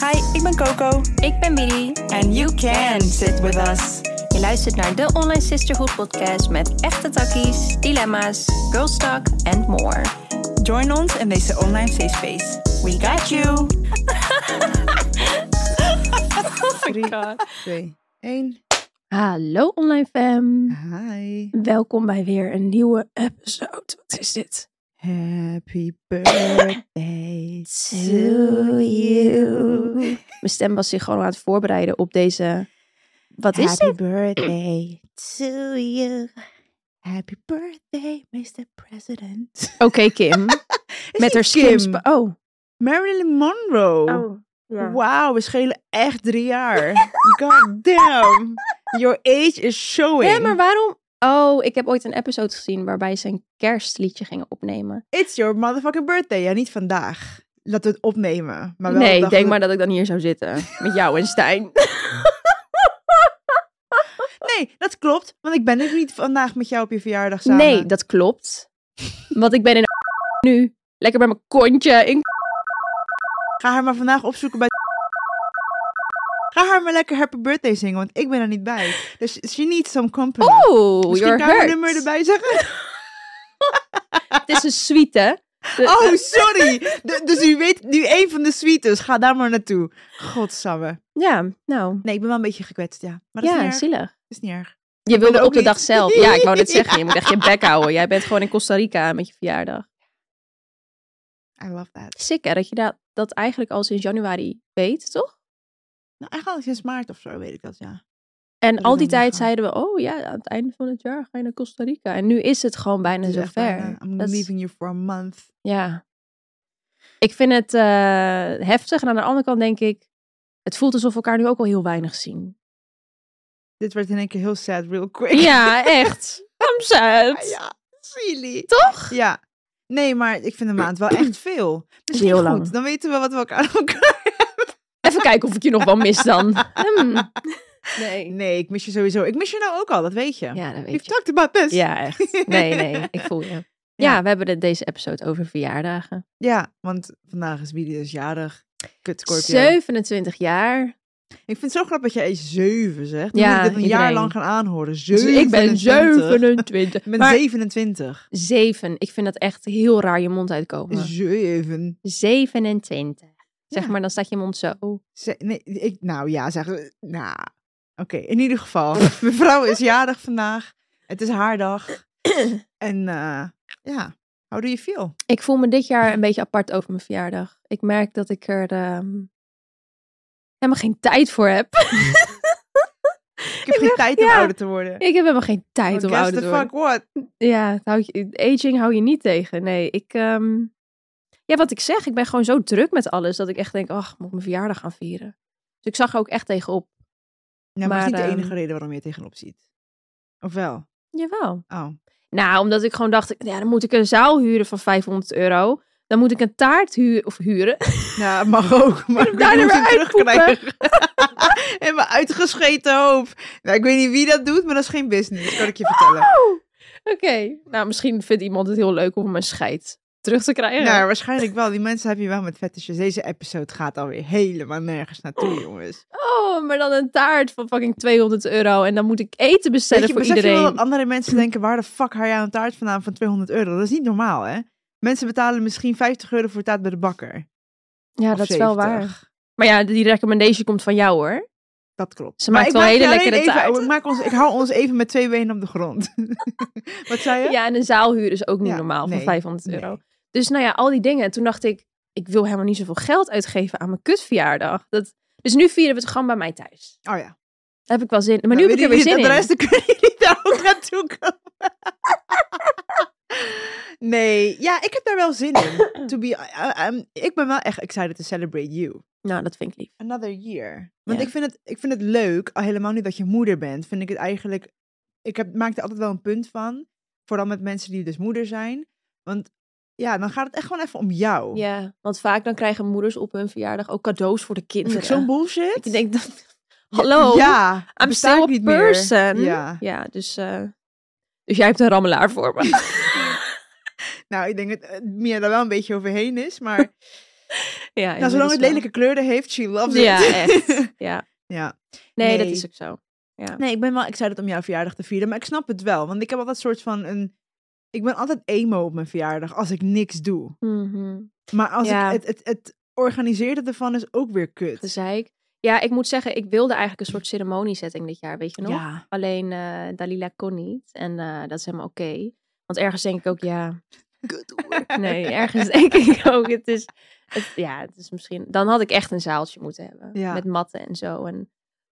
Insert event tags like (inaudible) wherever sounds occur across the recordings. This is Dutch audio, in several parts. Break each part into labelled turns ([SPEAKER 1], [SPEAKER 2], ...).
[SPEAKER 1] Hi, ik ben Coco.
[SPEAKER 2] Ik ben Billy.
[SPEAKER 1] And you can sit with us.
[SPEAKER 2] Je luistert naar de Online Sisterhood podcast met echte takkies, dilemma's, girl talk and more.
[SPEAKER 1] Join ons in deze online safe space. We got you.
[SPEAKER 2] Oh my god.
[SPEAKER 3] twee, één.
[SPEAKER 2] Hallo online fam.
[SPEAKER 3] Hi.
[SPEAKER 2] Welkom bij weer een nieuwe episode. Wat is dit?
[SPEAKER 3] Happy birthday
[SPEAKER 2] To you. Mijn stem was zich gewoon aan het voorbereiden op deze... Wat is
[SPEAKER 3] Happy
[SPEAKER 2] dit? (clears throat)
[SPEAKER 3] birthday to you. Happy birthday, Mr. President.
[SPEAKER 2] Oké (laughs) Kim. met haar
[SPEAKER 3] slim.
[SPEAKER 2] slims... Oh.
[SPEAKER 3] Marilyn Monroe.
[SPEAKER 2] ja.
[SPEAKER 3] Wauw, we schelen echt drie jaar. God damn. Your age is showing.
[SPEAKER 2] Hé, maar waarom... Oh, ik heb ooit een episode gezien waarbij ze een kerstliedje gingen opnemen.
[SPEAKER 3] It's your motherfucking birthday. Ja, niet vandaag. Laten we het opnemen. Maar wel de
[SPEAKER 2] nee,
[SPEAKER 3] dag
[SPEAKER 2] denk
[SPEAKER 3] dat-
[SPEAKER 2] maar dat ik dan hier zou zitten. Met jou en Stijn.
[SPEAKER 3] Nee, dat klopt. Want ik ben dus niet vandaag met jou op je verjaardag samen.
[SPEAKER 2] Nee, dat klopt. Want ik ben in (laughs) nu. Lekker bij mijn kontje. In...
[SPEAKER 3] Ga haar maar vandaag opzoeken bij. Ga haar maar lekker happy birthday zingen, want ik ben er niet bij. Dus she needs some company.
[SPEAKER 2] Oh,
[SPEAKER 3] Misschien
[SPEAKER 2] you're
[SPEAKER 3] kan je haar
[SPEAKER 2] hurt.
[SPEAKER 3] nummer erbij zeggen.
[SPEAKER 2] (laughs) Het is een suite, hè? Eh, De-
[SPEAKER 3] (laughs) Oh, sorry. D- dus u weet nu één van de suites. Ga daar maar naartoe. Godsamme.
[SPEAKER 2] Ja, nou.
[SPEAKER 3] Nee, ik ben wel een beetje gekwetst, ja. Maar dat is,
[SPEAKER 2] Ja,
[SPEAKER 3] niet erg.
[SPEAKER 2] zielig.
[SPEAKER 3] is niet erg.
[SPEAKER 2] Je
[SPEAKER 3] ben
[SPEAKER 2] wilde
[SPEAKER 3] ook
[SPEAKER 2] op de
[SPEAKER 3] niet.
[SPEAKER 2] dag zelf. Ja, ik wou
[SPEAKER 3] (laughs)
[SPEAKER 2] net zeggen. Je moet echt je bek houden. Jij bent gewoon in Costa Rica met je verjaardag.
[SPEAKER 3] I love that.
[SPEAKER 2] Sick, hè? Dat je dat, dat eigenlijk al sinds januari weet, toch?
[SPEAKER 3] Nou, eigenlijk sinds maart of zo weet ik dat, ja.
[SPEAKER 2] En
[SPEAKER 3] ik
[SPEAKER 2] al die
[SPEAKER 3] dan
[SPEAKER 2] tijd
[SPEAKER 3] meegaan.
[SPEAKER 2] zeiden we, oh ja, aan het einde van het jaar ga je naar Costa Rica. En nu is het gewoon bijna
[SPEAKER 3] Het is Dus echt
[SPEAKER 2] zover.
[SPEAKER 3] bijna, I'm
[SPEAKER 2] Dat is-
[SPEAKER 3] leaving you for a month.
[SPEAKER 2] Ja. Ik vind het eh, heftig. En aan de andere kant denk ik, het voelt alsof we elkaar nu ook al heel weinig
[SPEAKER 3] (laughs)
[SPEAKER 2] zien.
[SPEAKER 3] Dit werd in één keer heel sad, real quick.
[SPEAKER 2] Ja, echt. I'm sad.
[SPEAKER 3] (laughs) Ah, Ja, silly.
[SPEAKER 2] Toch?
[SPEAKER 3] Ja. Nee, maar ik vind een maand wel
[SPEAKER 2] (clears throat)
[SPEAKER 3] echt veel. Misschien
[SPEAKER 2] Eh. heel
[SPEAKER 3] goed,
[SPEAKER 2] lang.
[SPEAKER 3] Dan weten we wat we elkaar aan elkaar
[SPEAKER 2] Even kijken of ik je nog wel mis dan. Hmm. Nee.
[SPEAKER 3] (laughs) Nee, ik mis je sowieso. Ik mis je nou ook al, dat weet je.
[SPEAKER 2] Ja, dat weet
[SPEAKER 3] We've
[SPEAKER 2] je.
[SPEAKER 3] talked about this.
[SPEAKER 2] Ja, echt. Nee, nee. Ik voel je. Ja, we hebben het deze episode over verjaardagen.
[SPEAKER 3] (laughs) Ja, want vandaag is Billy dus jarig. Kut Scorpio.
[SPEAKER 2] 27 jaar.
[SPEAKER 3] Ik vind het zo grappig dat jij 7 zegt. Dan
[SPEAKER 2] Ja,
[SPEAKER 3] moet ik dit een jaar
[SPEAKER 2] iedereen.
[SPEAKER 3] lang gaan aanhoren.
[SPEAKER 2] Dus
[SPEAKER 3] 7.
[SPEAKER 2] ik ben 27.
[SPEAKER 3] Ik ben
[SPEAKER 2] Maar
[SPEAKER 3] 27.
[SPEAKER 2] 7. Ik vind dat echt heel raar je mond uitkomen.
[SPEAKER 3] 7.
[SPEAKER 2] 27. Zeg
[SPEAKER 3] Ja.
[SPEAKER 2] maar, dan staat je mond zo.
[SPEAKER 3] Ze- nee, ik, nou ja, zeg. Nou. Oké, in ieder geval. (laughs) Mevrouw is jarig vandaag. Het is haar dag. En eh, ja, how do you feel?
[SPEAKER 2] Ik voel me dit jaar een beetje apart over mijn verjaardag. Ik merk dat ik er ehm, helemaal geen tijd voor heb. (laughs)
[SPEAKER 3] Ik heb geen tijd om
[SPEAKER 2] ja.
[SPEAKER 3] ouder te worden.
[SPEAKER 2] ik heb helemaal geen tijd
[SPEAKER 3] Want
[SPEAKER 2] om
[SPEAKER 3] Oh, guess
[SPEAKER 2] ouder
[SPEAKER 3] the
[SPEAKER 2] te
[SPEAKER 3] fuck
[SPEAKER 2] worden.
[SPEAKER 3] what?
[SPEAKER 2] Ja, het houdt je, aging hou je niet tegen. Nee, ik... ehm, ja, wat ik zeg, ik ben gewoon zo druk met alles dat ik echt denk, ach, ik moet mijn verjaardag gaan vieren. Dus ik zag er ook echt tegenop.
[SPEAKER 3] Ja, Nou, maar, dat is
[SPEAKER 2] Maar,
[SPEAKER 3] niet de
[SPEAKER 2] ehm,
[SPEAKER 3] enige reden waarom je er tegenop ziet. Of wel?
[SPEAKER 2] Jawel.
[SPEAKER 3] Oh.
[SPEAKER 2] Nou, omdat ik gewoon dacht, ja, dan moet ik een zaal huren van 500 euro. Dan moet ik een taart huren, of huren. (laughs)
[SPEAKER 3] Nou, mag ook. Maar ik
[SPEAKER 2] Daar
[SPEAKER 3] moet
[SPEAKER 2] weer
[SPEAKER 3] hem terugkrijgen. (laughs) en mijn uitgescheten hoop. Nou, ik weet niet wie dat doet, maar dat is geen business, kan ik
[SPEAKER 2] (laughs)
[SPEAKER 3] je vertellen.
[SPEAKER 2] Oké. Nou, misschien vindt iemand het heel leuk om mijn scheid terug te krijgen.
[SPEAKER 3] Nou, waarschijnlijk wel. Die mensen heb je wel met fetishes. Deze episode gaat alweer helemaal nergens naartoe, jongens.
[SPEAKER 2] Oh, maar dan een taart van fucking 200 euro. En dan moet ik eten bestellen
[SPEAKER 3] Weet je,
[SPEAKER 2] voor
[SPEAKER 3] besef je
[SPEAKER 2] iedereen.
[SPEAKER 3] wel dat andere
[SPEAKER 2] (clears throat)
[SPEAKER 3] mensen denken, waar de fuck haal jij een taart vandaan van 200 euro? Dat is niet normaal, hè? Mensen betalen misschien 50 euro voor taart bij de bakker.
[SPEAKER 2] Ja,
[SPEAKER 3] Of
[SPEAKER 2] dat is wel
[SPEAKER 3] 70.
[SPEAKER 2] waar. Maar ja, die recommendation komt van jou hoor.
[SPEAKER 3] Dat klopt.
[SPEAKER 2] Ze maakt
[SPEAKER 3] ik
[SPEAKER 2] wel
[SPEAKER 3] maak
[SPEAKER 2] hele
[SPEAKER 3] je alleen
[SPEAKER 2] lekkere
[SPEAKER 3] even-
[SPEAKER 2] taarten.
[SPEAKER 3] Ik, maak ons, ik hou ons even met twee benen op de grond. (laughs) Wat zei je?
[SPEAKER 2] Ja, en een zaalhuur is ook niet
[SPEAKER 3] Ja,
[SPEAKER 2] normaal
[SPEAKER 3] nee,
[SPEAKER 2] van 500
[SPEAKER 3] nee.
[SPEAKER 2] euro. Dus nou ja, al die dingen. En toen dacht ik, ik wil helemaal niet zoveel geld uitgeven aan mijn kutverjaardag. Dat... Dus nu vieren we het gewoon bij mij thuis.
[SPEAKER 3] Oh ja.
[SPEAKER 2] Daar heb ik wel zin Maar nu heb
[SPEAKER 3] Nou,
[SPEAKER 2] ik er
[SPEAKER 3] weet
[SPEAKER 2] weer
[SPEAKER 3] je
[SPEAKER 2] zin in.
[SPEAKER 3] niet, (laughs) De rest dan kunnen jullie daar ook naartoe komen. (laughs) nee, ja, ik heb daar wel zin in. To be, I- I'm- ik ben wel echt excited to celebrate you.
[SPEAKER 2] Nou, dat vind ik lief.
[SPEAKER 3] Another year. Want
[SPEAKER 2] Ja.
[SPEAKER 3] ik, vind het, ik vind het leuk, al helemaal nu dat je moeder bent, vind ik het eigenlijk... Ik heb, maak er altijd wel een punt van. Vooral met mensen die dus moeder zijn. Want ja, dan gaat het echt gewoon even om jou.
[SPEAKER 2] Ja, want vaak dan krijgen moeders op hun verjaardag ook cadeaus voor de
[SPEAKER 3] Vind ik
[SPEAKER 2] kinderen.
[SPEAKER 3] zo'n bullshit.
[SPEAKER 2] Ik denk dan, hallo,
[SPEAKER 3] Ja,
[SPEAKER 2] I'm
[SPEAKER 3] besta
[SPEAKER 2] still
[SPEAKER 3] ik
[SPEAKER 2] a
[SPEAKER 3] niet meer.
[SPEAKER 2] person.
[SPEAKER 3] Ja.
[SPEAKER 2] Ja, dus, eh, dus jij hebt een rammelaar
[SPEAKER 3] (laughs)
[SPEAKER 2] voor me.
[SPEAKER 3] Nou, ik denk dat eh, Mia daar wel een beetje overheen is, maar
[SPEAKER 2] Ja,
[SPEAKER 3] nou, zolang
[SPEAKER 2] inmiddels
[SPEAKER 3] het
[SPEAKER 2] wel.
[SPEAKER 3] lelijke kleuren heeft, she loves (laughs) it.
[SPEAKER 2] Ja, echt. Ja.
[SPEAKER 3] ja.
[SPEAKER 2] Nee, dat
[SPEAKER 3] Nee.
[SPEAKER 2] is ook zo.
[SPEAKER 3] Nee, ik ben wel excited om jouw verjaardag te vieren. Maar ik snap het wel. Want ik heb altijd soort van een... Ik ben altijd emo op mijn verjaardag als ik niks doe.
[SPEAKER 2] Mhm,
[SPEAKER 3] Maar als
[SPEAKER 2] Ja.
[SPEAKER 3] ik het, het, het organiseren ervan is ook weer kut.
[SPEAKER 2] Gezeik. Ja, ik moet zeggen, ik wilde eigenlijk een soort ceremoniesetting dit jaar, weet je nog?
[SPEAKER 3] (laughs) ja.
[SPEAKER 2] Alleen eh, Dalila kon niet. En eh, dat is helemaal oké. Want ergens denk ik ook, ja... Nee, ergens denk ik ook. Het is, het- ja, het is misschien... Dan had ik echt een zaaltje moeten hebben.
[SPEAKER 3] Ja.
[SPEAKER 2] Met matten en zo. En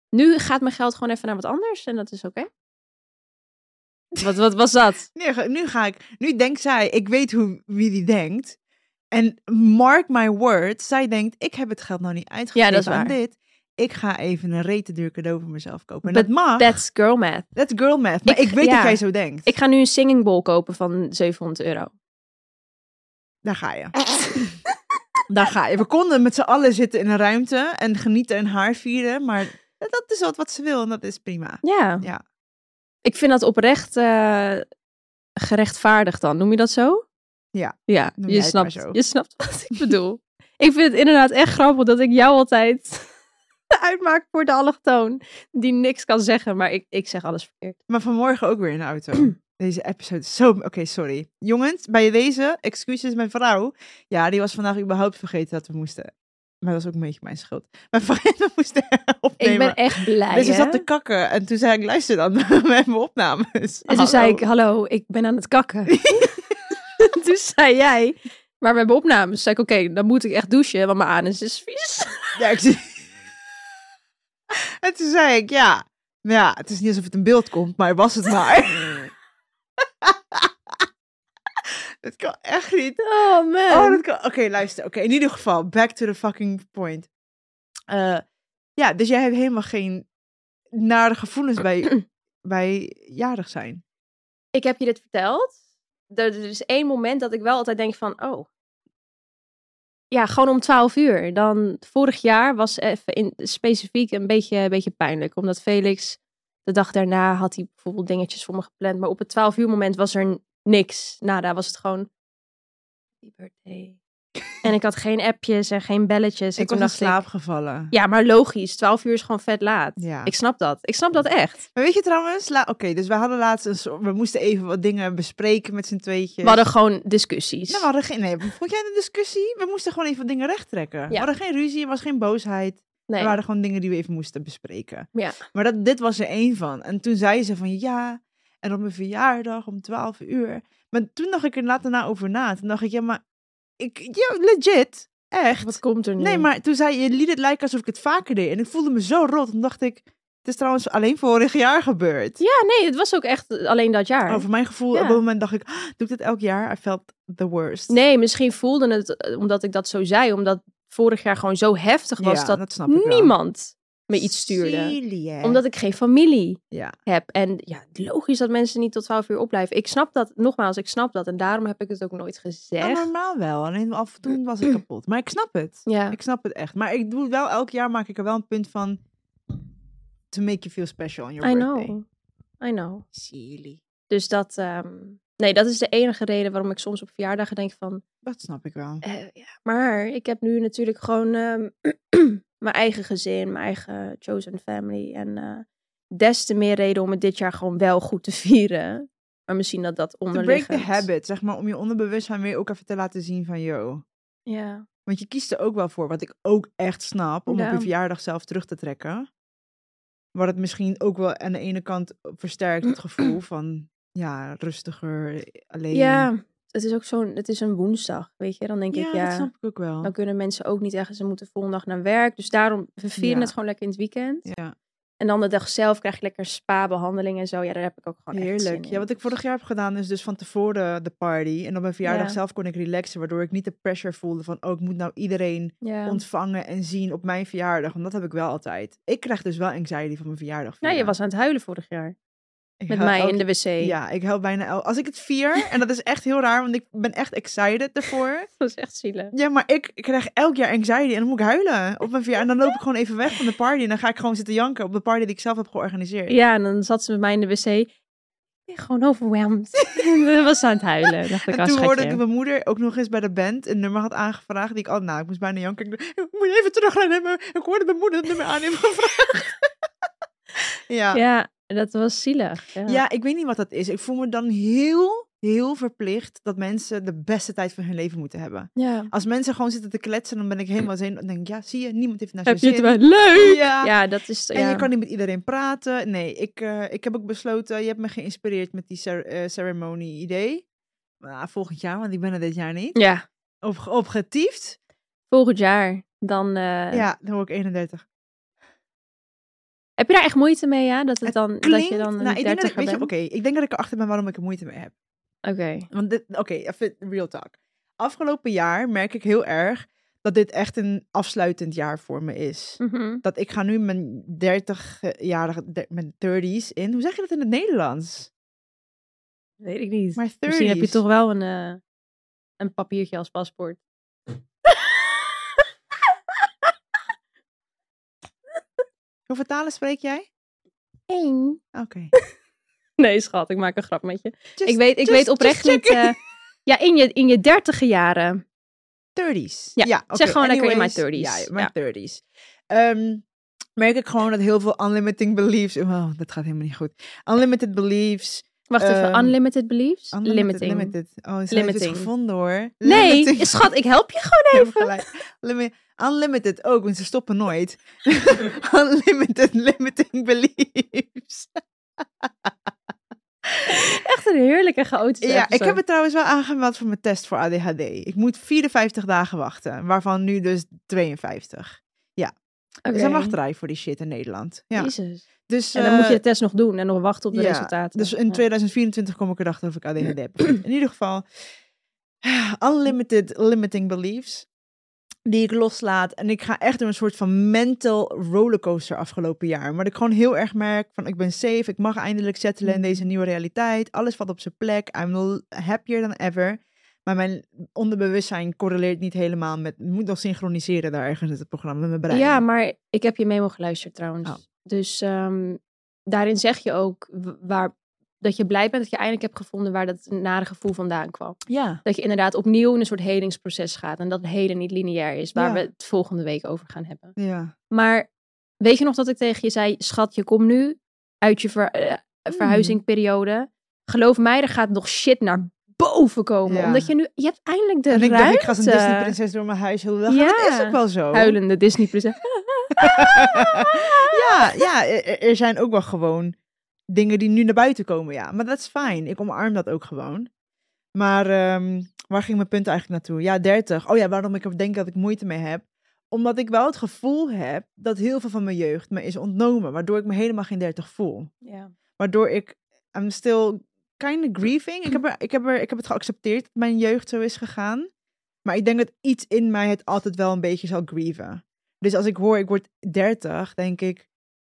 [SPEAKER 2] nu gaat mijn geld gewoon even naar wat anders. En dat is oké. Wat, wat was dat?
[SPEAKER 3] Nu, ga- nu ga ik... Nu denkt zij, ik weet hoe, wie die denkt. En mark my word, zij denkt, ik heb het geld nou niet uitgegeven
[SPEAKER 2] dat is
[SPEAKER 3] aan
[SPEAKER 2] waar.
[SPEAKER 3] dit. Ik ga even een rete duur cadeau voor mezelf kopen. En
[SPEAKER 2] But
[SPEAKER 3] dat mag.
[SPEAKER 2] That's girl math.
[SPEAKER 3] That's girl math. Maar ik,
[SPEAKER 2] Ik-
[SPEAKER 3] weet
[SPEAKER 2] ja.
[SPEAKER 3] dat jij zo denkt.
[SPEAKER 2] Ik ga nu een singing bowl kopen van 700 euro.
[SPEAKER 3] Daar ga je. Daar ga je. We konden met z'n allen zitten in een ruimte en genieten en haar vieren. Maar dat is wat, wat ze wil en dat is prima.
[SPEAKER 2] Ja.
[SPEAKER 3] Ja.
[SPEAKER 2] Ik vind dat oprecht eh, gerechtvaardigd dan. Noem je dat zo?
[SPEAKER 3] Ja,
[SPEAKER 2] Ja,
[SPEAKER 3] noem
[SPEAKER 2] je
[SPEAKER 3] jij het maar
[SPEAKER 2] snapt,
[SPEAKER 3] zo.
[SPEAKER 2] je snapt (laughs) wat
[SPEAKER 3] (laughs)
[SPEAKER 2] ik bedoel. ik vind het inderdaad echt grappig dat ik jou altijd (laughs) uitmaak voor de allochtoon. Die niks kan zeggen, maar ik, ik zeg alles verkeerd.
[SPEAKER 3] Maar vanmorgen ook weer in de auto. (clears throat) Deze episode is zo... Oké, sorry. Jongens, bij deze, excuses mijn vrouw. Ja, die was vandaag überhaupt vergeten dat we moesten. Maar dat was ook een beetje mijn schuld. Mijn vrienden moesten (laughs)
[SPEAKER 2] Ik
[SPEAKER 3] opnemen.
[SPEAKER 2] ben echt blij.
[SPEAKER 3] dus ze
[SPEAKER 2] hè?
[SPEAKER 3] zat te kakken. En toen zei ik, luister dan, (laughs) we hebben opnames.
[SPEAKER 2] En toen zei
[SPEAKER 3] Hallo.
[SPEAKER 2] ik, hallo, ik ben aan het
[SPEAKER 3] (laughs)
[SPEAKER 2] kakken. (laughs) toen zei jij, maar we hebben opnames. Toen zei ik, oké, dan moet ik echt douchen, want mijn anus is vies.
[SPEAKER 3] Ja, ik zie- (laughs) En toen zei ik, ja, nou ja, het is niet alsof het in beeld komt, maar was het maar. (laughs) dat kan echt niet.
[SPEAKER 2] (laughs) Oh man.
[SPEAKER 3] Oh, dat kan... Oké, luister. Oké, in ieder geval, back to the fucking point. Eh, ja, dus jij hebt helemaal geen nare
[SPEAKER 2] (clears throat)
[SPEAKER 3] gevoelens bij, bij jarig zijn.
[SPEAKER 2] ik heb je dit verteld. Er, er is dus één moment dat ik wel altijd denk van, oh. Ja, gewoon om 12 uur. Dan vorig jaar was even in, specifiek een beetje, een beetje pijnlijk. Omdat Felix, de dag daarna had hij bijvoorbeeld dingetjes voor me gepland. Maar op het 12 uur moment was er niks. Nada, was het gewoon... Happy birthday. en ik had geen appjes en geen belletjes. En
[SPEAKER 3] ik
[SPEAKER 2] toen
[SPEAKER 3] was in
[SPEAKER 2] dacht Dus ik,
[SPEAKER 3] slaap gevallen.
[SPEAKER 2] Ja, maar logisch. 12 uur is gewoon vet laat.
[SPEAKER 3] Ja.
[SPEAKER 2] Ik snap dat. Ik snap dat echt.
[SPEAKER 3] Maar weet je trouwens, la- oké, dus we hadden laatst een soort- we moesten even wat dingen bespreken met z'n tweetjes.
[SPEAKER 2] We hadden gewoon discussies.
[SPEAKER 3] Nou, we hadden geen. Nee, vond jij de discussie? We moesten gewoon even wat dingen rechttrekken. We
[SPEAKER 2] Ja.
[SPEAKER 3] hadden geen ruzie, er was geen boosheid.
[SPEAKER 2] nee.
[SPEAKER 3] Er waren gewoon dingen die we even moesten bespreken.
[SPEAKER 2] Ja.
[SPEAKER 3] Maar dat, dit was er één van. En toen zei ze van ja, en op mijn verjaardag om 12 uur. Maar toen dacht ik er later na over na. Toen dacht ik, ja, maar ik, ja, legit,
[SPEAKER 2] Wat
[SPEAKER 3] echt.
[SPEAKER 2] komt er nu?
[SPEAKER 3] Nee, maar toen zei je, je liet het lijken alsof ik het vaker deed. En ik voelde me zo rot. Toen dacht ik, het is trouwens alleen vorig jaar gebeurd.
[SPEAKER 2] Ja, nee, het was ook echt alleen dat jaar.
[SPEAKER 3] Over mijn gevoel,
[SPEAKER 2] Ja.
[SPEAKER 3] op dat moment dacht ik, "Ah, doe ik dit elk jaar? I felt the worst.
[SPEAKER 2] Nee, misschien voelde het eh, omdat ik dat zo zei, omdat vorig jaar gewoon zo heftig was
[SPEAKER 3] Ja,
[SPEAKER 2] dat,
[SPEAKER 3] snap ik wel.
[SPEAKER 2] niemand me iets stuurde.
[SPEAKER 3] Silly, hè?
[SPEAKER 2] Omdat ik geen familie
[SPEAKER 3] Ja.
[SPEAKER 2] heb. En ja, logisch dat mensen niet tot 12 uur opblijven. Ik snap dat, nogmaals, ik snap dat. En daarom heb ik het ook nooit
[SPEAKER 3] Nou,
[SPEAKER 2] gezegd.
[SPEAKER 3] normaal wel. Alleen af en toe was
[SPEAKER 2] (clears throat)
[SPEAKER 3] ik kapot. Maar ik snap het.
[SPEAKER 2] Ja,
[SPEAKER 3] Ik snap het echt. Maar ik doe wel elk jaar maak ik er wel een punt van to make you feel special on your
[SPEAKER 2] I
[SPEAKER 3] birthday.
[SPEAKER 2] know. I know.
[SPEAKER 3] Silly.
[SPEAKER 2] Dus dat, ehm, nee, dat is de enige reden waarom ik soms op verjaardagen denk van,
[SPEAKER 3] Dat snap ik wel.
[SPEAKER 2] Eh, ja, maar ik heb nu natuurlijk gewoon ehm, (clears throat) mijn eigen gezin, mijn eigen chosen family. En eh, des te meer reden om het dit jaar gewoon wel goed te (laughs) vieren. Maar misschien dat dat
[SPEAKER 3] To break
[SPEAKER 2] onderliggend...
[SPEAKER 3] the habit, zeg maar, om je onderbewustzijn weer ook even te laten zien van, yo.
[SPEAKER 2] Ja.
[SPEAKER 3] Want je kiest er ook wel voor, wat ik ook echt snap, om op
[SPEAKER 2] Ja.
[SPEAKER 3] je verjaardag zelf terug te trekken. Wat het misschien ook wel aan de ene kant versterkt het
[SPEAKER 2] (clears throat)
[SPEAKER 3] gevoel van, ja, rustiger, alleen.
[SPEAKER 2] ja, het is ook zo'n... Het is een woensdag, weet je. Dan denk ik,
[SPEAKER 3] dat
[SPEAKER 2] ja,
[SPEAKER 3] snap ik ook wel.
[SPEAKER 2] dan kunnen mensen ook niet echt... Ze moeten volgende dag naar werk. Dus daarom, we vieren
[SPEAKER 3] Ja.
[SPEAKER 2] het gewoon lekker in het weekend.
[SPEAKER 3] Ja.
[SPEAKER 2] En dan de dag zelf krijg je lekker een spa-behandeling en zo. Ja, daar heb ik ook gewoon echt zin
[SPEAKER 3] Heerlijk. Ja,
[SPEAKER 2] in.
[SPEAKER 3] wat ik vorig jaar heb gedaan is dus van tevoren de party. En op mijn verjaardag
[SPEAKER 2] Ja.
[SPEAKER 3] zelf kon ik relaxen, waardoor ik niet de pressure voelde van, oh, ik moet nou iedereen
[SPEAKER 2] Ja.
[SPEAKER 3] ontvangen en zien op mijn verjaardag. Want dat heb ik wel altijd. Ik krijg dus wel anxiety van mijn verjaardag.
[SPEAKER 2] Nou, je
[SPEAKER 3] vieren.
[SPEAKER 2] was aan het huilen vorig jaar.
[SPEAKER 3] Ik
[SPEAKER 2] Met
[SPEAKER 3] huil
[SPEAKER 2] mij in
[SPEAKER 3] elk-
[SPEAKER 2] de wc.
[SPEAKER 3] Ja, ik help bijna el- Als ik het vier, en dat is echt heel raar, want ik ben echt excited ervoor.
[SPEAKER 2] (laughs) Dat was echt zielig.
[SPEAKER 3] Ja, maar ik krijg elk jaar anxiety en dan moet ik huilen op mijn verjaardag. En dan loop ik gewoon even weg van de party en dan ga ik gewoon zitten janken op de party die ik zelf heb georganiseerd.
[SPEAKER 2] Ja, en dan zat ze met mij in de wc. ben gewoon overwhelmed. (laughs) en was aan het huilen. Dacht ik,
[SPEAKER 3] en
[SPEAKER 2] als
[SPEAKER 3] toen hoorde ik dat mijn moeder ook nog eens bij de band een nummer had aangevraagd. Die ik al, nou, ik moest bijna janken. Ik dacht, moet je even terugrennen? Ik hoorde mijn moeder het nummer aan heeft gevraagd. (laughs) ja. ja.
[SPEAKER 2] Ja, dat was zielig. Ja.
[SPEAKER 3] ik weet niet wat dat is. Ik voel me dan heel, heel verplicht dat mensen de beste tijd van hun leven moeten hebben.
[SPEAKER 2] Ja.
[SPEAKER 3] Als mensen gewoon zitten te kletsen, dan ben ik helemaal zenuwachtig. Dan denk ik, ja, zie je, niemand heeft naar
[SPEAKER 2] Heb
[SPEAKER 3] zijn
[SPEAKER 2] je
[SPEAKER 3] zin.
[SPEAKER 2] het wel leuk?
[SPEAKER 3] Ja.
[SPEAKER 2] Ja, dat is...
[SPEAKER 3] En
[SPEAKER 2] ja.
[SPEAKER 3] je kan niet met iedereen praten. Nee, ik, eh, ik heb ook besloten, je hebt me geïnspireerd met die cer- eh, ceremonie-idee. Nou, volgend jaar, want ik ben er dit jaar niet.
[SPEAKER 2] Ja,
[SPEAKER 3] Op, opgetiefd.
[SPEAKER 2] volgend jaar. Dan, eh,
[SPEAKER 3] Ja, dan word ik 31.
[SPEAKER 2] Heb je daar echt moeite mee, ja? Dat, het
[SPEAKER 3] Het
[SPEAKER 2] dan, dat
[SPEAKER 3] Klinkt,
[SPEAKER 2] je dan
[SPEAKER 3] nou, ik denk dat ik, weet je,
[SPEAKER 2] bent?
[SPEAKER 3] oké, ik denk dat ik erachter ben waarom ik er moeite mee heb.
[SPEAKER 2] Oké.
[SPEAKER 3] Want dit, oké, even real talk. Afgelopen jaar merk ik heel erg dat dit echt een afsluitend jaar voor me is.
[SPEAKER 2] Mhm.
[SPEAKER 3] Dat ik ga nu mijn 30-jarige, der- mijn 30s in. Hoe zeg je dat in het Nederlands?
[SPEAKER 2] Weet ik niet.
[SPEAKER 3] Maar 30s.
[SPEAKER 2] Misschien heb je toch wel een, eh, een papiertje als paspoort.
[SPEAKER 3] Hoeveel talen spreek jij?
[SPEAKER 2] Eén.
[SPEAKER 3] Oké.
[SPEAKER 2] Nee, schat, ik maak een grap met je.
[SPEAKER 3] Just-
[SPEAKER 2] (laughs) ik weet, ik
[SPEAKER 3] just-
[SPEAKER 2] weet oprecht
[SPEAKER 3] just
[SPEAKER 2] niet... eh, ja, in je, in je dertige jaren.
[SPEAKER 3] 30s.
[SPEAKER 2] Ja,
[SPEAKER 3] oké,
[SPEAKER 2] gewoon lekker in mijn
[SPEAKER 3] anyways.
[SPEAKER 2] 30s.
[SPEAKER 3] Ja, in mijn 30s. Ehm, merk ik gewoon dat heel veel unlimited beliefs... Oh, dat gaat helemaal niet goed. Unlimited beliefs.
[SPEAKER 2] Wacht even,
[SPEAKER 3] Ehm,
[SPEAKER 2] unlimited beliefs?
[SPEAKER 3] Unlimited,
[SPEAKER 2] limiting.
[SPEAKER 3] Limited. Oh, ze heeft het
[SPEAKER 2] Limiting.
[SPEAKER 3] gevonden hoor.
[SPEAKER 2] Nee,
[SPEAKER 3] Limiting. (laughs)
[SPEAKER 2] schat, ik help je
[SPEAKER 3] Je
[SPEAKER 2] gewoon
[SPEAKER 3] hebt
[SPEAKER 2] even.
[SPEAKER 3] gelijk. Limi- Unlimited ook, want ze stoppen nooit. (laughs) unlimited limiting beliefs.
[SPEAKER 2] Echt een heerlijke chaotische
[SPEAKER 3] Ja, ik
[SPEAKER 2] episode.
[SPEAKER 3] heb het trouwens wel aangemeld voor mijn test voor ADHD. Ik moet 54 dagen wachten, waarvan nu dus 52.
[SPEAKER 2] Oké.
[SPEAKER 3] Dus een wachtrij voor die shit in Nederland. Ja.
[SPEAKER 2] Jezus.
[SPEAKER 3] Dus,
[SPEAKER 2] En dan moet je
[SPEAKER 3] eh,
[SPEAKER 2] de test nog doen en nog wachten op de
[SPEAKER 3] ja,
[SPEAKER 2] resultaten.
[SPEAKER 3] Dus in
[SPEAKER 2] Ja.
[SPEAKER 3] 2024 kom ik erachter of ik ADHD heb. In ieder geval, (sighs) unlimited limiting beliefs die ik loslaat. En ik ga echt door een soort van mental rollercoaster afgelopen jaar. Maar dat ik gewoon heel erg merk van ik ben safe, ik mag eindelijk settelen
[SPEAKER 2] Mhm.
[SPEAKER 3] in deze nieuwe realiteit. Alles valt op zijn plek, I'm l- happier than ever. Maar mijn onderbewustzijn correleert niet helemaal met... moet nog synchroniseren daar ergens in het programma met mijn brein.
[SPEAKER 2] Ja, maar ik heb je memo geluisterd trouwens.
[SPEAKER 3] Oh.
[SPEAKER 2] Dus ehm, daarin zeg je ook w- waar, dat je blij bent dat je eindelijk hebt gevonden waar dat nare gevoel vandaan kwam.
[SPEAKER 3] ja.
[SPEAKER 2] Dat je inderdaad opnieuw in een soort helingsproces gaat en dat het heden niet lineair is, waar
[SPEAKER 3] Ja.
[SPEAKER 2] we het volgende week over gaan hebben.
[SPEAKER 3] ja.
[SPEAKER 2] Maar weet je nog dat ik tegen je zei, schat, je komt nu uit je ver, eh,
[SPEAKER 3] Hmm.
[SPEAKER 2] verhuizingperiode. Geloof mij, er gaat nog shit naar boven komen.
[SPEAKER 3] Ja.
[SPEAKER 2] Omdat je nu, je hebt eindelijk de
[SPEAKER 3] En ik dacht,
[SPEAKER 2] ruimte.
[SPEAKER 3] ik ga zo'n Disney-prinses door mijn huis. Heel dag.
[SPEAKER 2] eh, Ja.
[SPEAKER 3] Dat is ook wel zo.
[SPEAKER 2] Huilende Disney
[SPEAKER 3] (laughs)
[SPEAKER 2] prinses.
[SPEAKER 3] ja, ja er, er- er zijn ook wel gewoon dingen die nu naar buiten komen, ja. Maar dat is fijn. Ik omarm dat ook gewoon. Maar ehm, waar ging mijn punt eigenlijk naartoe? Ja, 30. Oh ja, waarom ik er denk dat ik moeite mee heb. Omdat ik wel het gevoel heb dat heel veel van mijn jeugd me is ontnomen. Waardoor ik me helemaal geen 30 voel.
[SPEAKER 2] Ja.
[SPEAKER 3] Waardoor ik, I'm still kind of grieving. Ik heb, er, ik, heb er, ik heb het geaccepteerd dat mijn jeugd zo is gegaan. Maar ik denk dat iets in mij het altijd wel een beetje zal grieven. Dus als ik hoor, ik word 30, denk ik,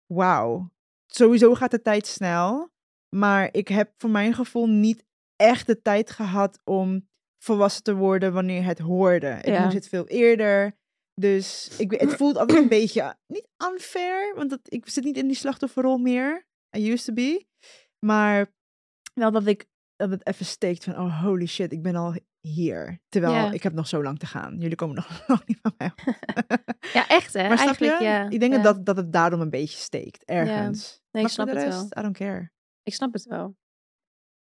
[SPEAKER 3] wauw. Sowieso gaat de tijd snel. Maar ik heb voor mijn gevoel niet echt de tijd gehad om volwassen te worden wanneer het hoorde. Ik
[SPEAKER 2] Ja.
[SPEAKER 3] moest het veel eerder. Dus ik, weet- het voelt altijd een beetje, eh, niet unfair, want dat, ik zit niet in die slachtofferrol meer. I used to be. Maar wel dat ik dat het even steekt van, oh holy shit, ik ben al hier. Terwijl
[SPEAKER 2] Ja.
[SPEAKER 3] ik heb nog zo lang te gaan. Jullie komen nog (laughs) lang niet van mij. af.
[SPEAKER 2] (laughs) ja, echt hè.
[SPEAKER 3] maar snap
[SPEAKER 2] Eigenlijk,
[SPEAKER 3] je?
[SPEAKER 2] Ja.
[SPEAKER 3] ik denk
[SPEAKER 2] ja.
[SPEAKER 3] dat dat, dat het daarom een beetje steekt, ergens.
[SPEAKER 2] Nee, ik
[SPEAKER 3] maar
[SPEAKER 2] snap
[SPEAKER 3] voor
[SPEAKER 2] het
[SPEAKER 3] de rest,
[SPEAKER 2] wel.
[SPEAKER 3] I don't care.
[SPEAKER 2] Ik snap het wel.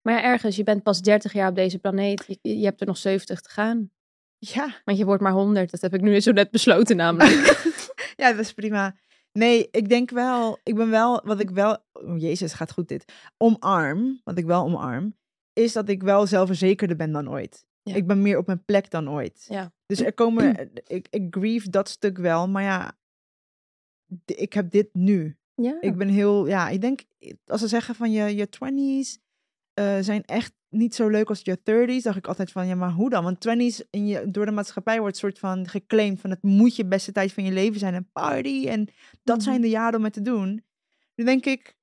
[SPEAKER 2] Maar ja, ergens, je bent pas 30 jaar op deze planeet. Je, je hebt er nog 70 te gaan.
[SPEAKER 3] Ja.
[SPEAKER 2] Want je wordt maar 100. Dat heb ik nu zo net besloten namelijk.
[SPEAKER 3] (laughs) ja, dat is prima. Nee, ik denk wel, ik ben wel, wat ik wel, oh jezus, gaat goed dit. Omarm, wat ik wel omarm, is dat ik wel zelfverzekerder ben dan ooit.
[SPEAKER 2] Ja.
[SPEAKER 3] Ik ben meer op mijn plek dan ooit.
[SPEAKER 2] Ja.
[SPEAKER 3] Dus er komen, ik, ik grieve dat stuk wel, maar ja, d- ik heb dit nu.
[SPEAKER 2] Ja.
[SPEAKER 3] Ik ben heel, ja, ik denk, als ze zeggen van je, je 20s eh, zijn echt niet zo leuk als je 30s, dacht ik altijd van ja, maar hoe dan? Want 20s in je, door de maatschappij wordt soort van geclaimd van het moet je beste tijd van je leven zijn en party en dat
[SPEAKER 2] Mhm.
[SPEAKER 3] zijn de jaren om het te doen. Nu denk ik,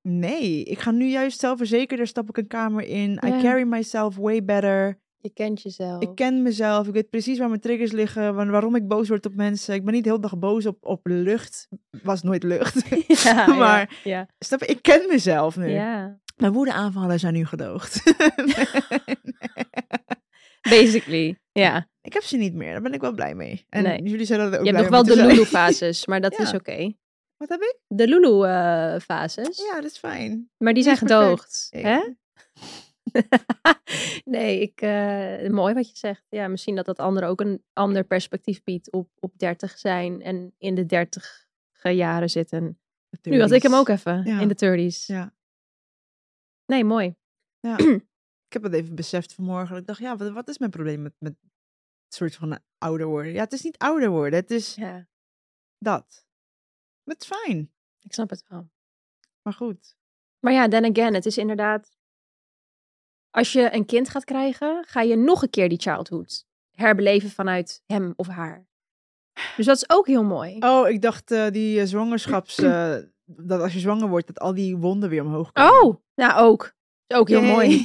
[SPEAKER 3] nee, ik ga nu juist zelfverzekerder, stap ik een kamer in,
[SPEAKER 2] Ja. Oh.
[SPEAKER 3] I carry myself way better.
[SPEAKER 2] Je kent jezelf.
[SPEAKER 3] Ik ken (laughs) mezelf. Ik weet precies waar mijn triggers liggen. waar- Waarom ik boos word op mensen. Ik ben niet de hele dag boos op, op lucht. Was nooit lucht.
[SPEAKER 2] (laughs) (laughs) ja,
[SPEAKER 3] (laughs) maar-
[SPEAKER 2] Ja,
[SPEAKER 3] Snap je? Ik ken mezelf
[SPEAKER 2] ja.
[SPEAKER 3] nu.
[SPEAKER 2] ja.
[SPEAKER 3] Mijn woedeaanvallen zijn nu gedoogd. (laughs)
[SPEAKER 2] Basically. Ja.
[SPEAKER 3] ik heb ze niet meer. Daar ben ik wel blij mee. En
[SPEAKER 2] Nee.
[SPEAKER 3] jullie zijn er ook
[SPEAKER 2] Je hebt
[SPEAKER 3] blij
[SPEAKER 2] nog
[SPEAKER 3] mee
[SPEAKER 2] wel
[SPEAKER 3] te
[SPEAKER 2] de
[SPEAKER 3] zijn.
[SPEAKER 2] (laughs) Lulu-fases, maar dat
[SPEAKER 3] Ja.
[SPEAKER 2] is oké.
[SPEAKER 3] Wat heb ik?
[SPEAKER 2] De Lulu-fases.
[SPEAKER 3] Ja, dat is fijn.
[SPEAKER 2] Maar die zijn
[SPEAKER 3] is perfect.
[SPEAKER 2] gedoogd.
[SPEAKER 3] Ik-
[SPEAKER 2] Hè? nee, ik, eh, mooi wat je zegt. Ja, misschien dat dat anderen ook een ander perspectief biedt op, op 30 zijn en in de 30 jaren zitten.
[SPEAKER 3] De
[SPEAKER 2] Nu had ik hem ook
[SPEAKER 3] turbies.
[SPEAKER 2] even
[SPEAKER 3] Ja.
[SPEAKER 2] in de 30s.
[SPEAKER 3] Ja.
[SPEAKER 2] Nee, mooi.
[SPEAKER 3] Ik heb dat even beseft vanmorgen. Ik dacht, ja, wat, wat is mijn probleem met, met het soort van eh, ouder worden? Ja, het is niet ouder worden. Het is
[SPEAKER 2] Ja,
[SPEAKER 3] dat. Maar Het is fijn.
[SPEAKER 2] ik snap het wel.
[SPEAKER 3] Maar goed.
[SPEAKER 2] Maar ja, then again, het is inderdaad. Als je een kind gaat krijgen, ga je nog een keer die childhood herbeleven vanuit hem of haar. Dus dat is ook heel mooi.
[SPEAKER 3] Oh, ik dacht eh, die eh, zwangerschaps... eh, dat als je zwanger wordt, dat al die wonden weer omhoog komen.
[SPEAKER 2] Oh, nou ook. Is Ook heel
[SPEAKER 3] Yay.
[SPEAKER 2] mooi.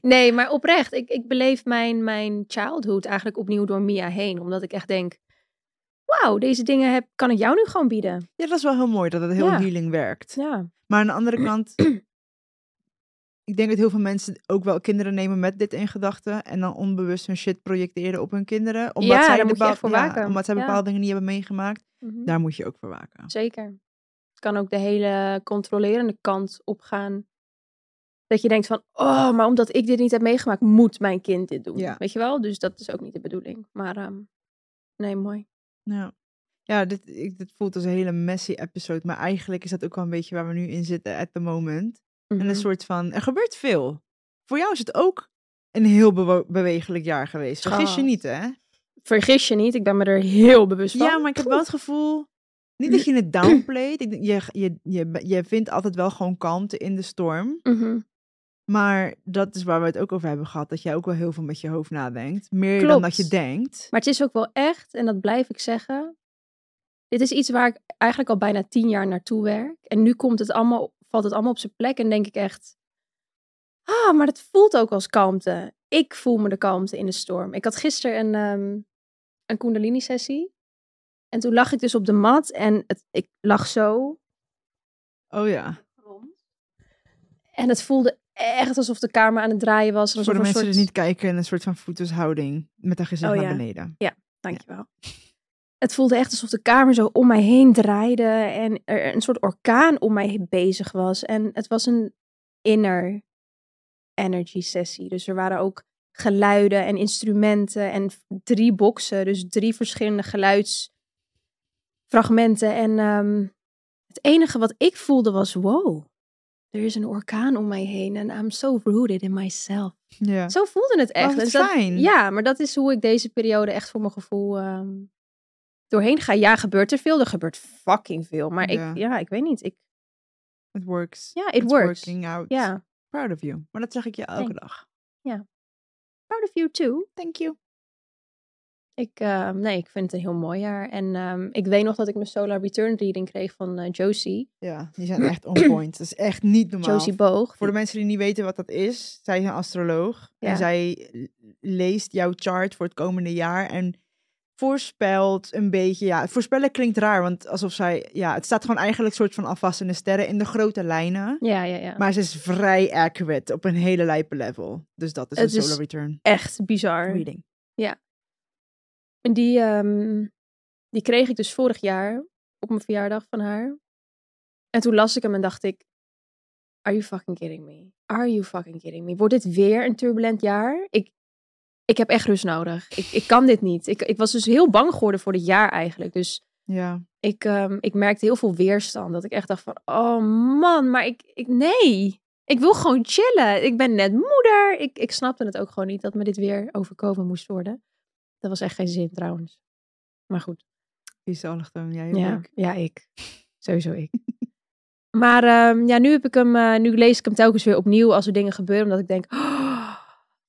[SPEAKER 2] nee, maar oprecht. Ik, ik beleef mijn, mijn childhood eigenlijk opnieuw door Mia heen. Omdat ik echt denk, wauw, deze dingen heb, kan ik jou nu gewoon bieden.
[SPEAKER 3] (laughs) Ja, dat is wel heel mooi dat het heel
[SPEAKER 2] Ja.
[SPEAKER 3] healing werkt.
[SPEAKER 2] Ja,
[SPEAKER 3] Maar aan de andere kant... ik denk dat heel veel mensen ook wel kinderen nemen met dit in gedachten. En dan onbewust hun shit projecteren op hun kinderen. Omdat
[SPEAKER 2] Ja,
[SPEAKER 3] zij
[SPEAKER 2] daar moet je
[SPEAKER 3] bepaal-
[SPEAKER 2] echt voor
[SPEAKER 3] ja,
[SPEAKER 2] waken.
[SPEAKER 3] omdat zij
[SPEAKER 2] Ja.
[SPEAKER 3] bepaalde dingen niet hebben meegemaakt.
[SPEAKER 2] Mhm.
[SPEAKER 3] Daar moet je ook voor waken.
[SPEAKER 2] zeker. Het kan ook de hele controlerende kant opgaan. Dat je denkt van, oh, maar omdat ik dit niet heb meegemaakt, moet mijn kind dit doen.
[SPEAKER 3] Ja.
[SPEAKER 2] Weet je wel? Dus dat is ook niet de bedoeling. Maar ehm, nee, mooi.
[SPEAKER 3] Ja, ja dit, ik, dit voelt als een hele messy episode. Maar eigenlijk is dat ook wel een beetje waar we nu in zitten at the moment. En
[SPEAKER 2] Mhm.
[SPEAKER 3] een soort van, er gebeurt veel. Voor jou is het ook een heel bewo- bewegelijk jaar geweest. Vergis je
[SPEAKER 2] Schat.
[SPEAKER 3] niet, hè?
[SPEAKER 2] Vergis je niet, ik ben me er heel bewust van.
[SPEAKER 3] Ja, maar ik heb wel het gevoel... Niet dat je het downplayt. Ik, denk, je, je, je, be- je vindt altijd wel gewoon kalmte in de storm.
[SPEAKER 2] Mhm.
[SPEAKER 3] Maar dat is waar we het ook over hebben gehad. Dat jij ook wel heel veel met je hoofd nadenkt. Meer dan
[SPEAKER 2] Klopt.
[SPEAKER 3] dat je denkt.
[SPEAKER 2] Maar het is ook wel echt, en dat blijf ik zeggen. Dit is iets waar ik eigenlijk al bijna tien jaar naartoe werk. En nu komt het allemaal, valt het allemaal op zijn plek en denk ik echt. Ah, maar dat voelt ook als kalmte. Ik voel me de kalmte in de storm. Ik had gisteren een, ehm, een Kundalini-sessie. En toen lag ik dus op de mat en het, ik lag zo
[SPEAKER 3] Oh ja.
[SPEAKER 2] rond. En het voelde echt alsof de kamer aan het draaien was.
[SPEAKER 3] Voor
[SPEAKER 2] alsof
[SPEAKER 3] de
[SPEAKER 2] een
[SPEAKER 3] mensen
[SPEAKER 2] soort...
[SPEAKER 3] die niet kijken. Een soort van voetenshouding. Met haar gezicht
[SPEAKER 2] Oh
[SPEAKER 3] naar
[SPEAKER 2] ja.
[SPEAKER 3] beneden.
[SPEAKER 2] Dankjewel. Het voelde echt alsof de kamer zo om mij heen draaide en er een soort orkaan om mij heen bezig was. En het was een inner energy sessie. Dus er waren ook geluiden en instrumenten en v- drie boxen. Dus drie verschillende geluidsfragmenten. En ehm, het enige wat ik voelde was, wow, er is een orkaan om mij heen. En I'm so rooted in myself.
[SPEAKER 3] Ja.
[SPEAKER 2] Zo voelde het echt.
[SPEAKER 3] Oh, wat
[SPEAKER 2] Dus dat-
[SPEAKER 3] fijn.
[SPEAKER 2] ja, maar dat is hoe ik deze periode echt voor mijn gevoel ehm, doorheen ga. Ja, gebeurt er veel. Er gebeurt fucking veel. Maar
[SPEAKER 3] Ja.
[SPEAKER 2] ik, ja, ik weet niet. Ik,
[SPEAKER 3] It works.
[SPEAKER 2] ja, it
[SPEAKER 3] It's
[SPEAKER 2] works.
[SPEAKER 3] working out.
[SPEAKER 2] Ja.
[SPEAKER 3] Proud of you. Maar dat zeg ik je elke
[SPEAKER 2] Thanks.
[SPEAKER 3] dag.
[SPEAKER 2] Proud of you too.
[SPEAKER 3] Thank you.
[SPEAKER 2] Ik, ehm, nee, ik vind het een heel mooi jaar. En ehm, ik weet nog dat ik mijn Solar Return reading kreeg van eh, Josie.
[SPEAKER 3] Ja, die zijn echt on point. Dat is echt niet normaal.
[SPEAKER 2] Josie Boog.
[SPEAKER 3] Voor de mensen die niet weten wat dat is, zij is een astroloog. En
[SPEAKER 2] Ja.
[SPEAKER 3] zij leest jouw chart voor het komende jaar en voorspelt een beetje, ja, voorspellen klinkt raar, want alsof zij, ja, het staat gewoon eigenlijk soort van alvast in de sterren in de grote lijnen.
[SPEAKER 2] Ja, ja, ja.
[SPEAKER 3] Maar ze is vrij accurate op een hele lijpe level. Dus dat is
[SPEAKER 2] Het
[SPEAKER 3] een
[SPEAKER 2] is
[SPEAKER 3] solar return
[SPEAKER 2] Echt bizar.
[SPEAKER 3] reading.
[SPEAKER 2] En die, ehm, die kreeg ik dus vorig jaar op mijn verjaardag van haar. En toen las ik hem en dacht ik, are you fucking kidding me? Are you fucking kidding me? Wordt dit weer een turbulent jaar? Ik, ik heb echt rust nodig. Ik, ik kan dit niet. Ik, ik was dus heel bang geworden voor dit jaar eigenlijk. Dus
[SPEAKER 3] Ja.
[SPEAKER 2] ik, ehm, ik merkte heel veel weerstand. Dat ik echt dacht van, oh man, maar ik, ik nee. Ik wil gewoon chillen. Ik ben net moeder. Ik, ik snapte het ook gewoon niet dat me dit weer overkomen moest worden. Dat was echt geen zin trouwens. Maar goed.
[SPEAKER 3] Die is allochtoon, jij
[SPEAKER 2] Ja,
[SPEAKER 3] ook.
[SPEAKER 2] ja ik. Sowieso ik. (laughs) maar ehm, ja, nu, heb ik hem, eh, nu lees ik hem telkens weer opnieuw als er dingen gebeuren. Omdat ik denk, "Oh,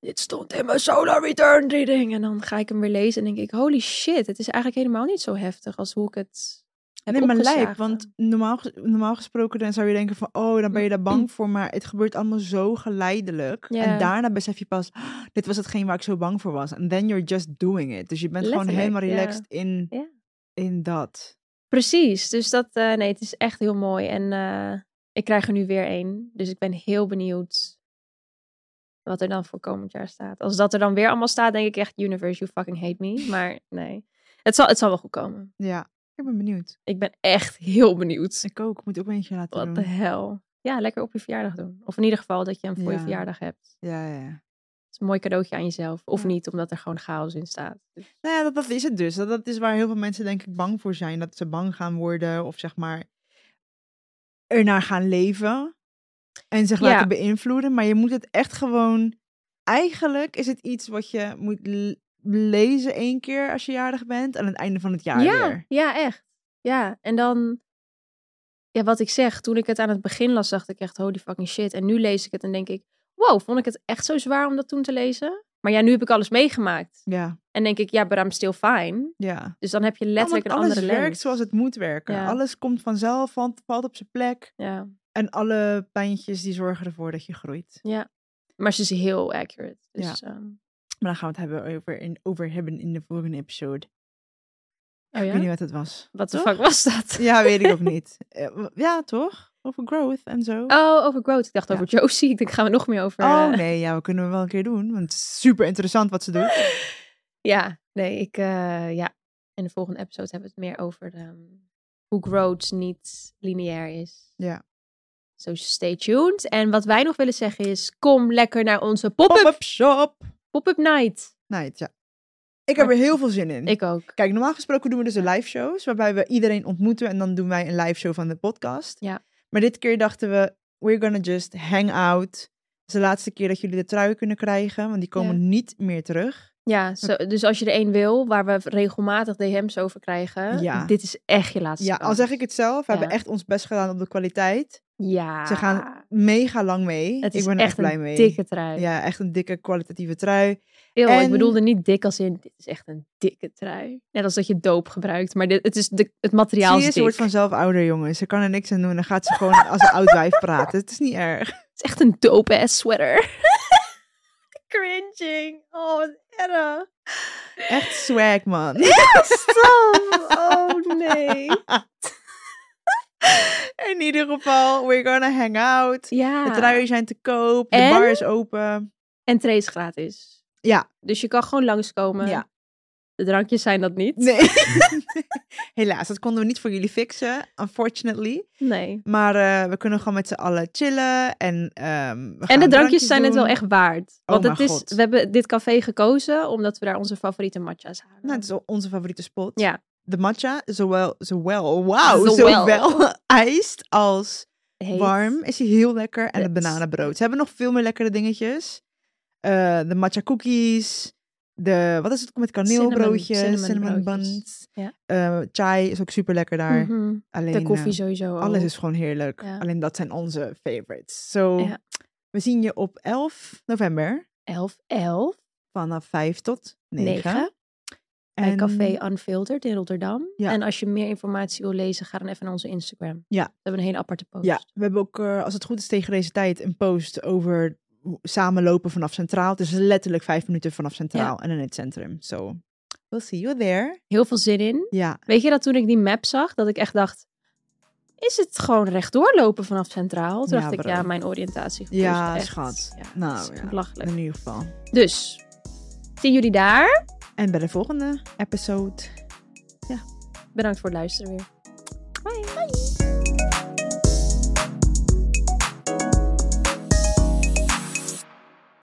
[SPEAKER 2] dit stond in mijn Solar Return reading. En dan ga ik hem weer lezen en denk ik, holy shit. Het is eigenlijk helemaal niet zo heftig als hoe ik het heb
[SPEAKER 3] nee, maar lijp,
[SPEAKER 2] opgeslagen.
[SPEAKER 3] want normaal, ges- normaal gesproken dan zou je denken van, oh, dan ben je daar bang voor, maar het gebeurt allemaal zo geleidelijk.
[SPEAKER 2] Mm. Ja.
[SPEAKER 3] En daarna besef je pas, (gasps) "Ah, dit was hetgeen waar ik zo bang voor was. En then you're just doing it. Dus je bent
[SPEAKER 2] Letterlijk,
[SPEAKER 3] gewoon helemaal
[SPEAKER 2] ja.
[SPEAKER 3] relaxed in,
[SPEAKER 2] Ja.
[SPEAKER 3] in dat.
[SPEAKER 2] Precies, dus dat, eh, nee, het is echt heel mooi. En eh, ik krijg er nu weer één, dus ik ben heel benieuwd wat er dan voor komend jaar staat. Als dat er dan weer allemaal staat, denk ik echt, universe, you fucking hate
[SPEAKER 3] (laughs)
[SPEAKER 2] me. Maar nee, het zal, het zal wel goed komen.
[SPEAKER 3] Ja, ik ben benieuwd.
[SPEAKER 2] Ik ben echt heel benieuwd.
[SPEAKER 3] Ik ook, ik moet ook eentje laten
[SPEAKER 2] Wat de
[SPEAKER 3] doen.
[SPEAKER 2] hel. Ja, lekker op je verjaardag doen. Of in ieder geval dat je hem voor je
[SPEAKER 3] Ja.
[SPEAKER 2] verjaardag hebt.
[SPEAKER 3] Ja, ja, ja.
[SPEAKER 2] Het is een mooi cadeautje aan jezelf. Of
[SPEAKER 3] Ja.
[SPEAKER 2] niet, omdat er gewoon chaos in staat. Dus-
[SPEAKER 3] Nou ja, dat, dat is het dus. Dat, dat is waar heel veel mensen denk ik bang voor zijn. Dat ze bang gaan worden of zeg maar ernaar gaan leven. En zich
[SPEAKER 2] Ja.
[SPEAKER 3] laten beïnvloeden. Maar je moet het echt gewoon... Eigenlijk is het iets wat je moet l- lezen één keer als je jarig bent. Aan het einde van het jaar
[SPEAKER 2] ja,
[SPEAKER 3] weer.
[SPEAKER 2] ja, echt. Ja, en dan... Ja, wat ik zeg, toen ik het aan het begin las, dacht ik echt, holy fucking shit. En nu lees ik het en denk ik, wow, vond ik het echt zo zwaar om dat toen te lezen? Maar ja, nu heb ik alles meegemaakt.
[SPEAKER 3] Ja,
[SPEAKER 2] En denk ik, ja, but I'm still fine.
[SPEAKER 3] ja.
[SPEAKER 2] Dus dan heb je letterlijk
[SPEAKER 3] Want
[SPEAKER 2] een
[SPEAKER 3] alles
[SPEAKER 2] andere
[SPEAKER 3] werkt
[SPEAKER 2] lens.
[SPEAKER 3] zoals het moet werken.
[SPEAKER 2] Ja.
[SPEAKER 3] Alles komt vanzelf, valt, valt op zijn plek.
[SPEAKER 2] Ja,
[SPEAKER 3] En alle pijntjes die zorgen ervoor dat je groeit.
[SPEAKER 2] ja. Maar ze is heel accurate. Dus, ehm,
[SPEAKER 3] Maar daar gaan we het hebben over, in, over hebben in de volgende episode.
[SPEAKER 2] oh
[SPEAKER 3] Ik
[SPEAKER 2] ja?
[SPEAKER 3] weet niet wat het was.
[SPEAKER 2] Wat de
[SPEAKER 3] Toch?
[SPEAKER 2] fuck was dat?
[SPEAKER 3] Ja, weet ik ook niet. Eh, w- Ja, toch? Over growth en zo.
[SPEAKER 2] Oh, over growth. Ik dacht
[SPEAKER 3] Ja.
[SPEAKER 2] over Josie. Ik denk, gaan we nog meer over...
[SPEAKER 3] Oh,
[SPEAKER 2] eh,
[SPEAKER 3] nee, ja, we kunnen hem wel een keer doen. Want het is super interessant wat ze
[SPEAKER 2] (laughs)
[SPEAKER 3] doet.
[SPEAKER 2] Ja, nee, ik... eh, ja, in de volgende episode hebben we het meer over ehm, hoe growth niet lineair is.
[SPEAKER 3] Ja.
[SPEAKER 2] So stay tuned. En wat wij nog willen zeggen is, kom lekker naar onze pop-up
[SPEAKER 3] Pop-up shop.
[SPEAKER 2] pop-up night.
[SPEAKER 3] Night, ja. Ik heb er heel veel zin in.
[SPEAKER 2] Ik ook.
[SPEAKER 3] Kijk, normaal gesproken doen we dus de live shows. Waarbij we iedereen ontmoeten en dan doen wij een live show van de podcast.
[SPEAKER 2] Ja.
[SPEAKER 3] Maar dit keer dachten we, we're gonna just hang out. Het is de laatste keer dat jullie de trui kunnen krijgen. Want die komen
[SPEAKER 2] Ja.
[SPEAKER 3] niet meer terug.
[SPEAKER 2] Ja, zo, dus als je er één wil, waar we regelmatig DM's over krijgen,
[SPEAKER 3] Ja.
[SPEAKER 2] dit is echt je laatste
[SPEAKER 3] Ja, al
[SPEAKER 2] kans.
[SPEAKER 3] zeg ik het zelf. We
[SPEAKER 2] Ja.
[SPEAKER 3] hebben echt ons best gedaan op de kwaliteit.
[SPEAKER 2] Ja.
[SPEAKER 3] Ze gaan mega lang mee.
[SPEAKER 2] Het is
[SPEAKER 3] ik ben er
[SPEAKER 2] echt
[SPEAKER 3] echt blij
[SPEAKER 2] een
[SPEAKER 3] mee.
[SPEAKER 2] dikke trui.
[SPEAKER 3] Ja, echt een dikke kwalitatieve trui.
[SPEAKER 2] Eeuw, ik
[SPEAKER 3] En-
[SPEAKER 2] bedoelde niet dik als in, dit is echt een dikke trui. Net als dat je doop gebruikt, maar dit, het, is de, het materiaal is
[SPEAKER 3] Zie je,
[SPEAKER 2] dik.
[SPEAKER 3] ze wordt vanzelf ouder, jongens. Ze kan er niks aan doen. Dan gaat ze gewoon (laughs) als een oud wijf praten. Het is niet erg.
[SPEAKER 2] Het is echt een dope ass sweater. (laughs) Cringing. Oh, wat erg.
[SPEAKER 3] Echt swag, man. (laughs)
[SPEAKER 2] Stom. Oh, nee.
[SPEAKER 3] In ieder geval, we're gonna hang out.
[SPEAKER 2] Ja.
[SPEAKER 3] De truien zijn te koop. De
[SPEAKER 2] En?
[SPEAKER 3] bar is open.
[SPEAKER 2] En tree is gratis.
[SPEAKER 3] Ja.
[SPEAKER 2] Dus je kan gewoon langskomen.
[SPEAKER 3] Ja.
[SPEAKER 2] De drankjes zijn dat niet. (laughs)
[SPEAKER 3] Nee. Helaas, dat konden we niet voor jullie fixen. Unfortunately.
[SPEAKER 2] Nee.
[SPEAKER 3] Maar eh, we kunnen gewoon met z'n allen chillen. En, ehm, we
[SPEAKER 2] En
[SPEAKER 3] gaan
[SPEAKER 2] de drankjes
[SPEAKER 3] drankjes
[SPEAKER 2] zijn het
[SPEAKER 3] doen. Oh
[SPEAKER 2] wel echt waard. Want
[SPEAKER 3] mijn
[SPEAKER 2] het is,
[SPEAKER 3] God.
[SPEAKER 2] we hebben dit café gekozen omdat we daar onze favoriete matcha's halen.
[SPEAKER 3] Nou, het is wel onze favoriete spot.
[SPEAKER 2] Ja.
[SPEAKER 3] De matcha, zowel, zowel, wauw,
[SPEAKER 2] Zowel.
[SPEAKER 3] zowel (laughs) ijsd als
[SPEAKER 2] Heet.
[SPEAKER 3] warm is hij heel lekker. En het
[SPEAKER 2] Yes.
[SPEAKER 3] bananenbrood. Ze hebben nog veel meer lekkere dingetjes. Eh, de matcha cookies. De, wat is het ook met kaneelbroodjes, cinnamon,
[SPEAKER 2] cinnamon broodjes.
[SPEAKER 3] buns.
[SPEAKER 2] Ja.
[SPEAKER 3] Eh, chai is ook super lekker daar.
[SPEAKER 2] Mhm.
[SPEAKER 3] Alleen,
[SPEAKER 2] De koffie
[SPEAKER 3] eh,
[SPEAKER 2] sowieso.
[SPEAKER 3] alles
[SPEAKER 2] ook.
[SPEAKER 3] is gewoon heerlijk.
[SPEAKER 2] Ja.
[SPEAKER 3] Alleen dat zijn onze favorites. Zo,
[SPEAKER 2] Ja.
[SPEAKER 3] we zien je op 11 november
[SPEAKER 2] 11, 11,
[SPEAKER 3] vanaf 5 tot 9.
[SPEAKER 2] 9. Bij Café Unfiltered in Rotterdam.
[SPEAKER 3] Ja.
[SPEAKER 2] En als je meer informatie wil lezen, ga dan even naar onze Instagram.
[SPEAKER 3] Ja.
[SPEAKER 2] We hebben een hele aparte post.
[SPEAKER 3] Ja, we hebben ook, eh, als het goed is, tegen deze tijd een post over hoe- samenlopen vanaf Centraal. Het is letterlijk vijf minuten vanaf Centraal en in het centrum. So, we'll see you there.
[SPEAKER 2] Heel veel zin in.
[SPEAKER 3] Ja,
[SPEAKER 2] Weet je dat toen ik die map zag, dat ik echt dacht... Is het gewoon rechtdoor lopen vanaf Centraal? Toen
[SPEAKER 3] Ja,
[SPEAKER 2] dacht ik,
[SPEAKER 3] bro.
[SPEAKER 2] ja, mijn oriëntatie.
[SPEAKER 3] ja schat.
[SPEAKER 2] nou,
[SPEAKER 3] nou, ja,
[SPEAKER 2] belachelijk.
[SPEAKER 3] in ieder geval.
[SPEAKER 2] Dus, zien jullie daar.
[SPEAKER 3] En bij de volgende episode.
[SPEAKER 2] Bedankt voor het luisteren weer. Bye.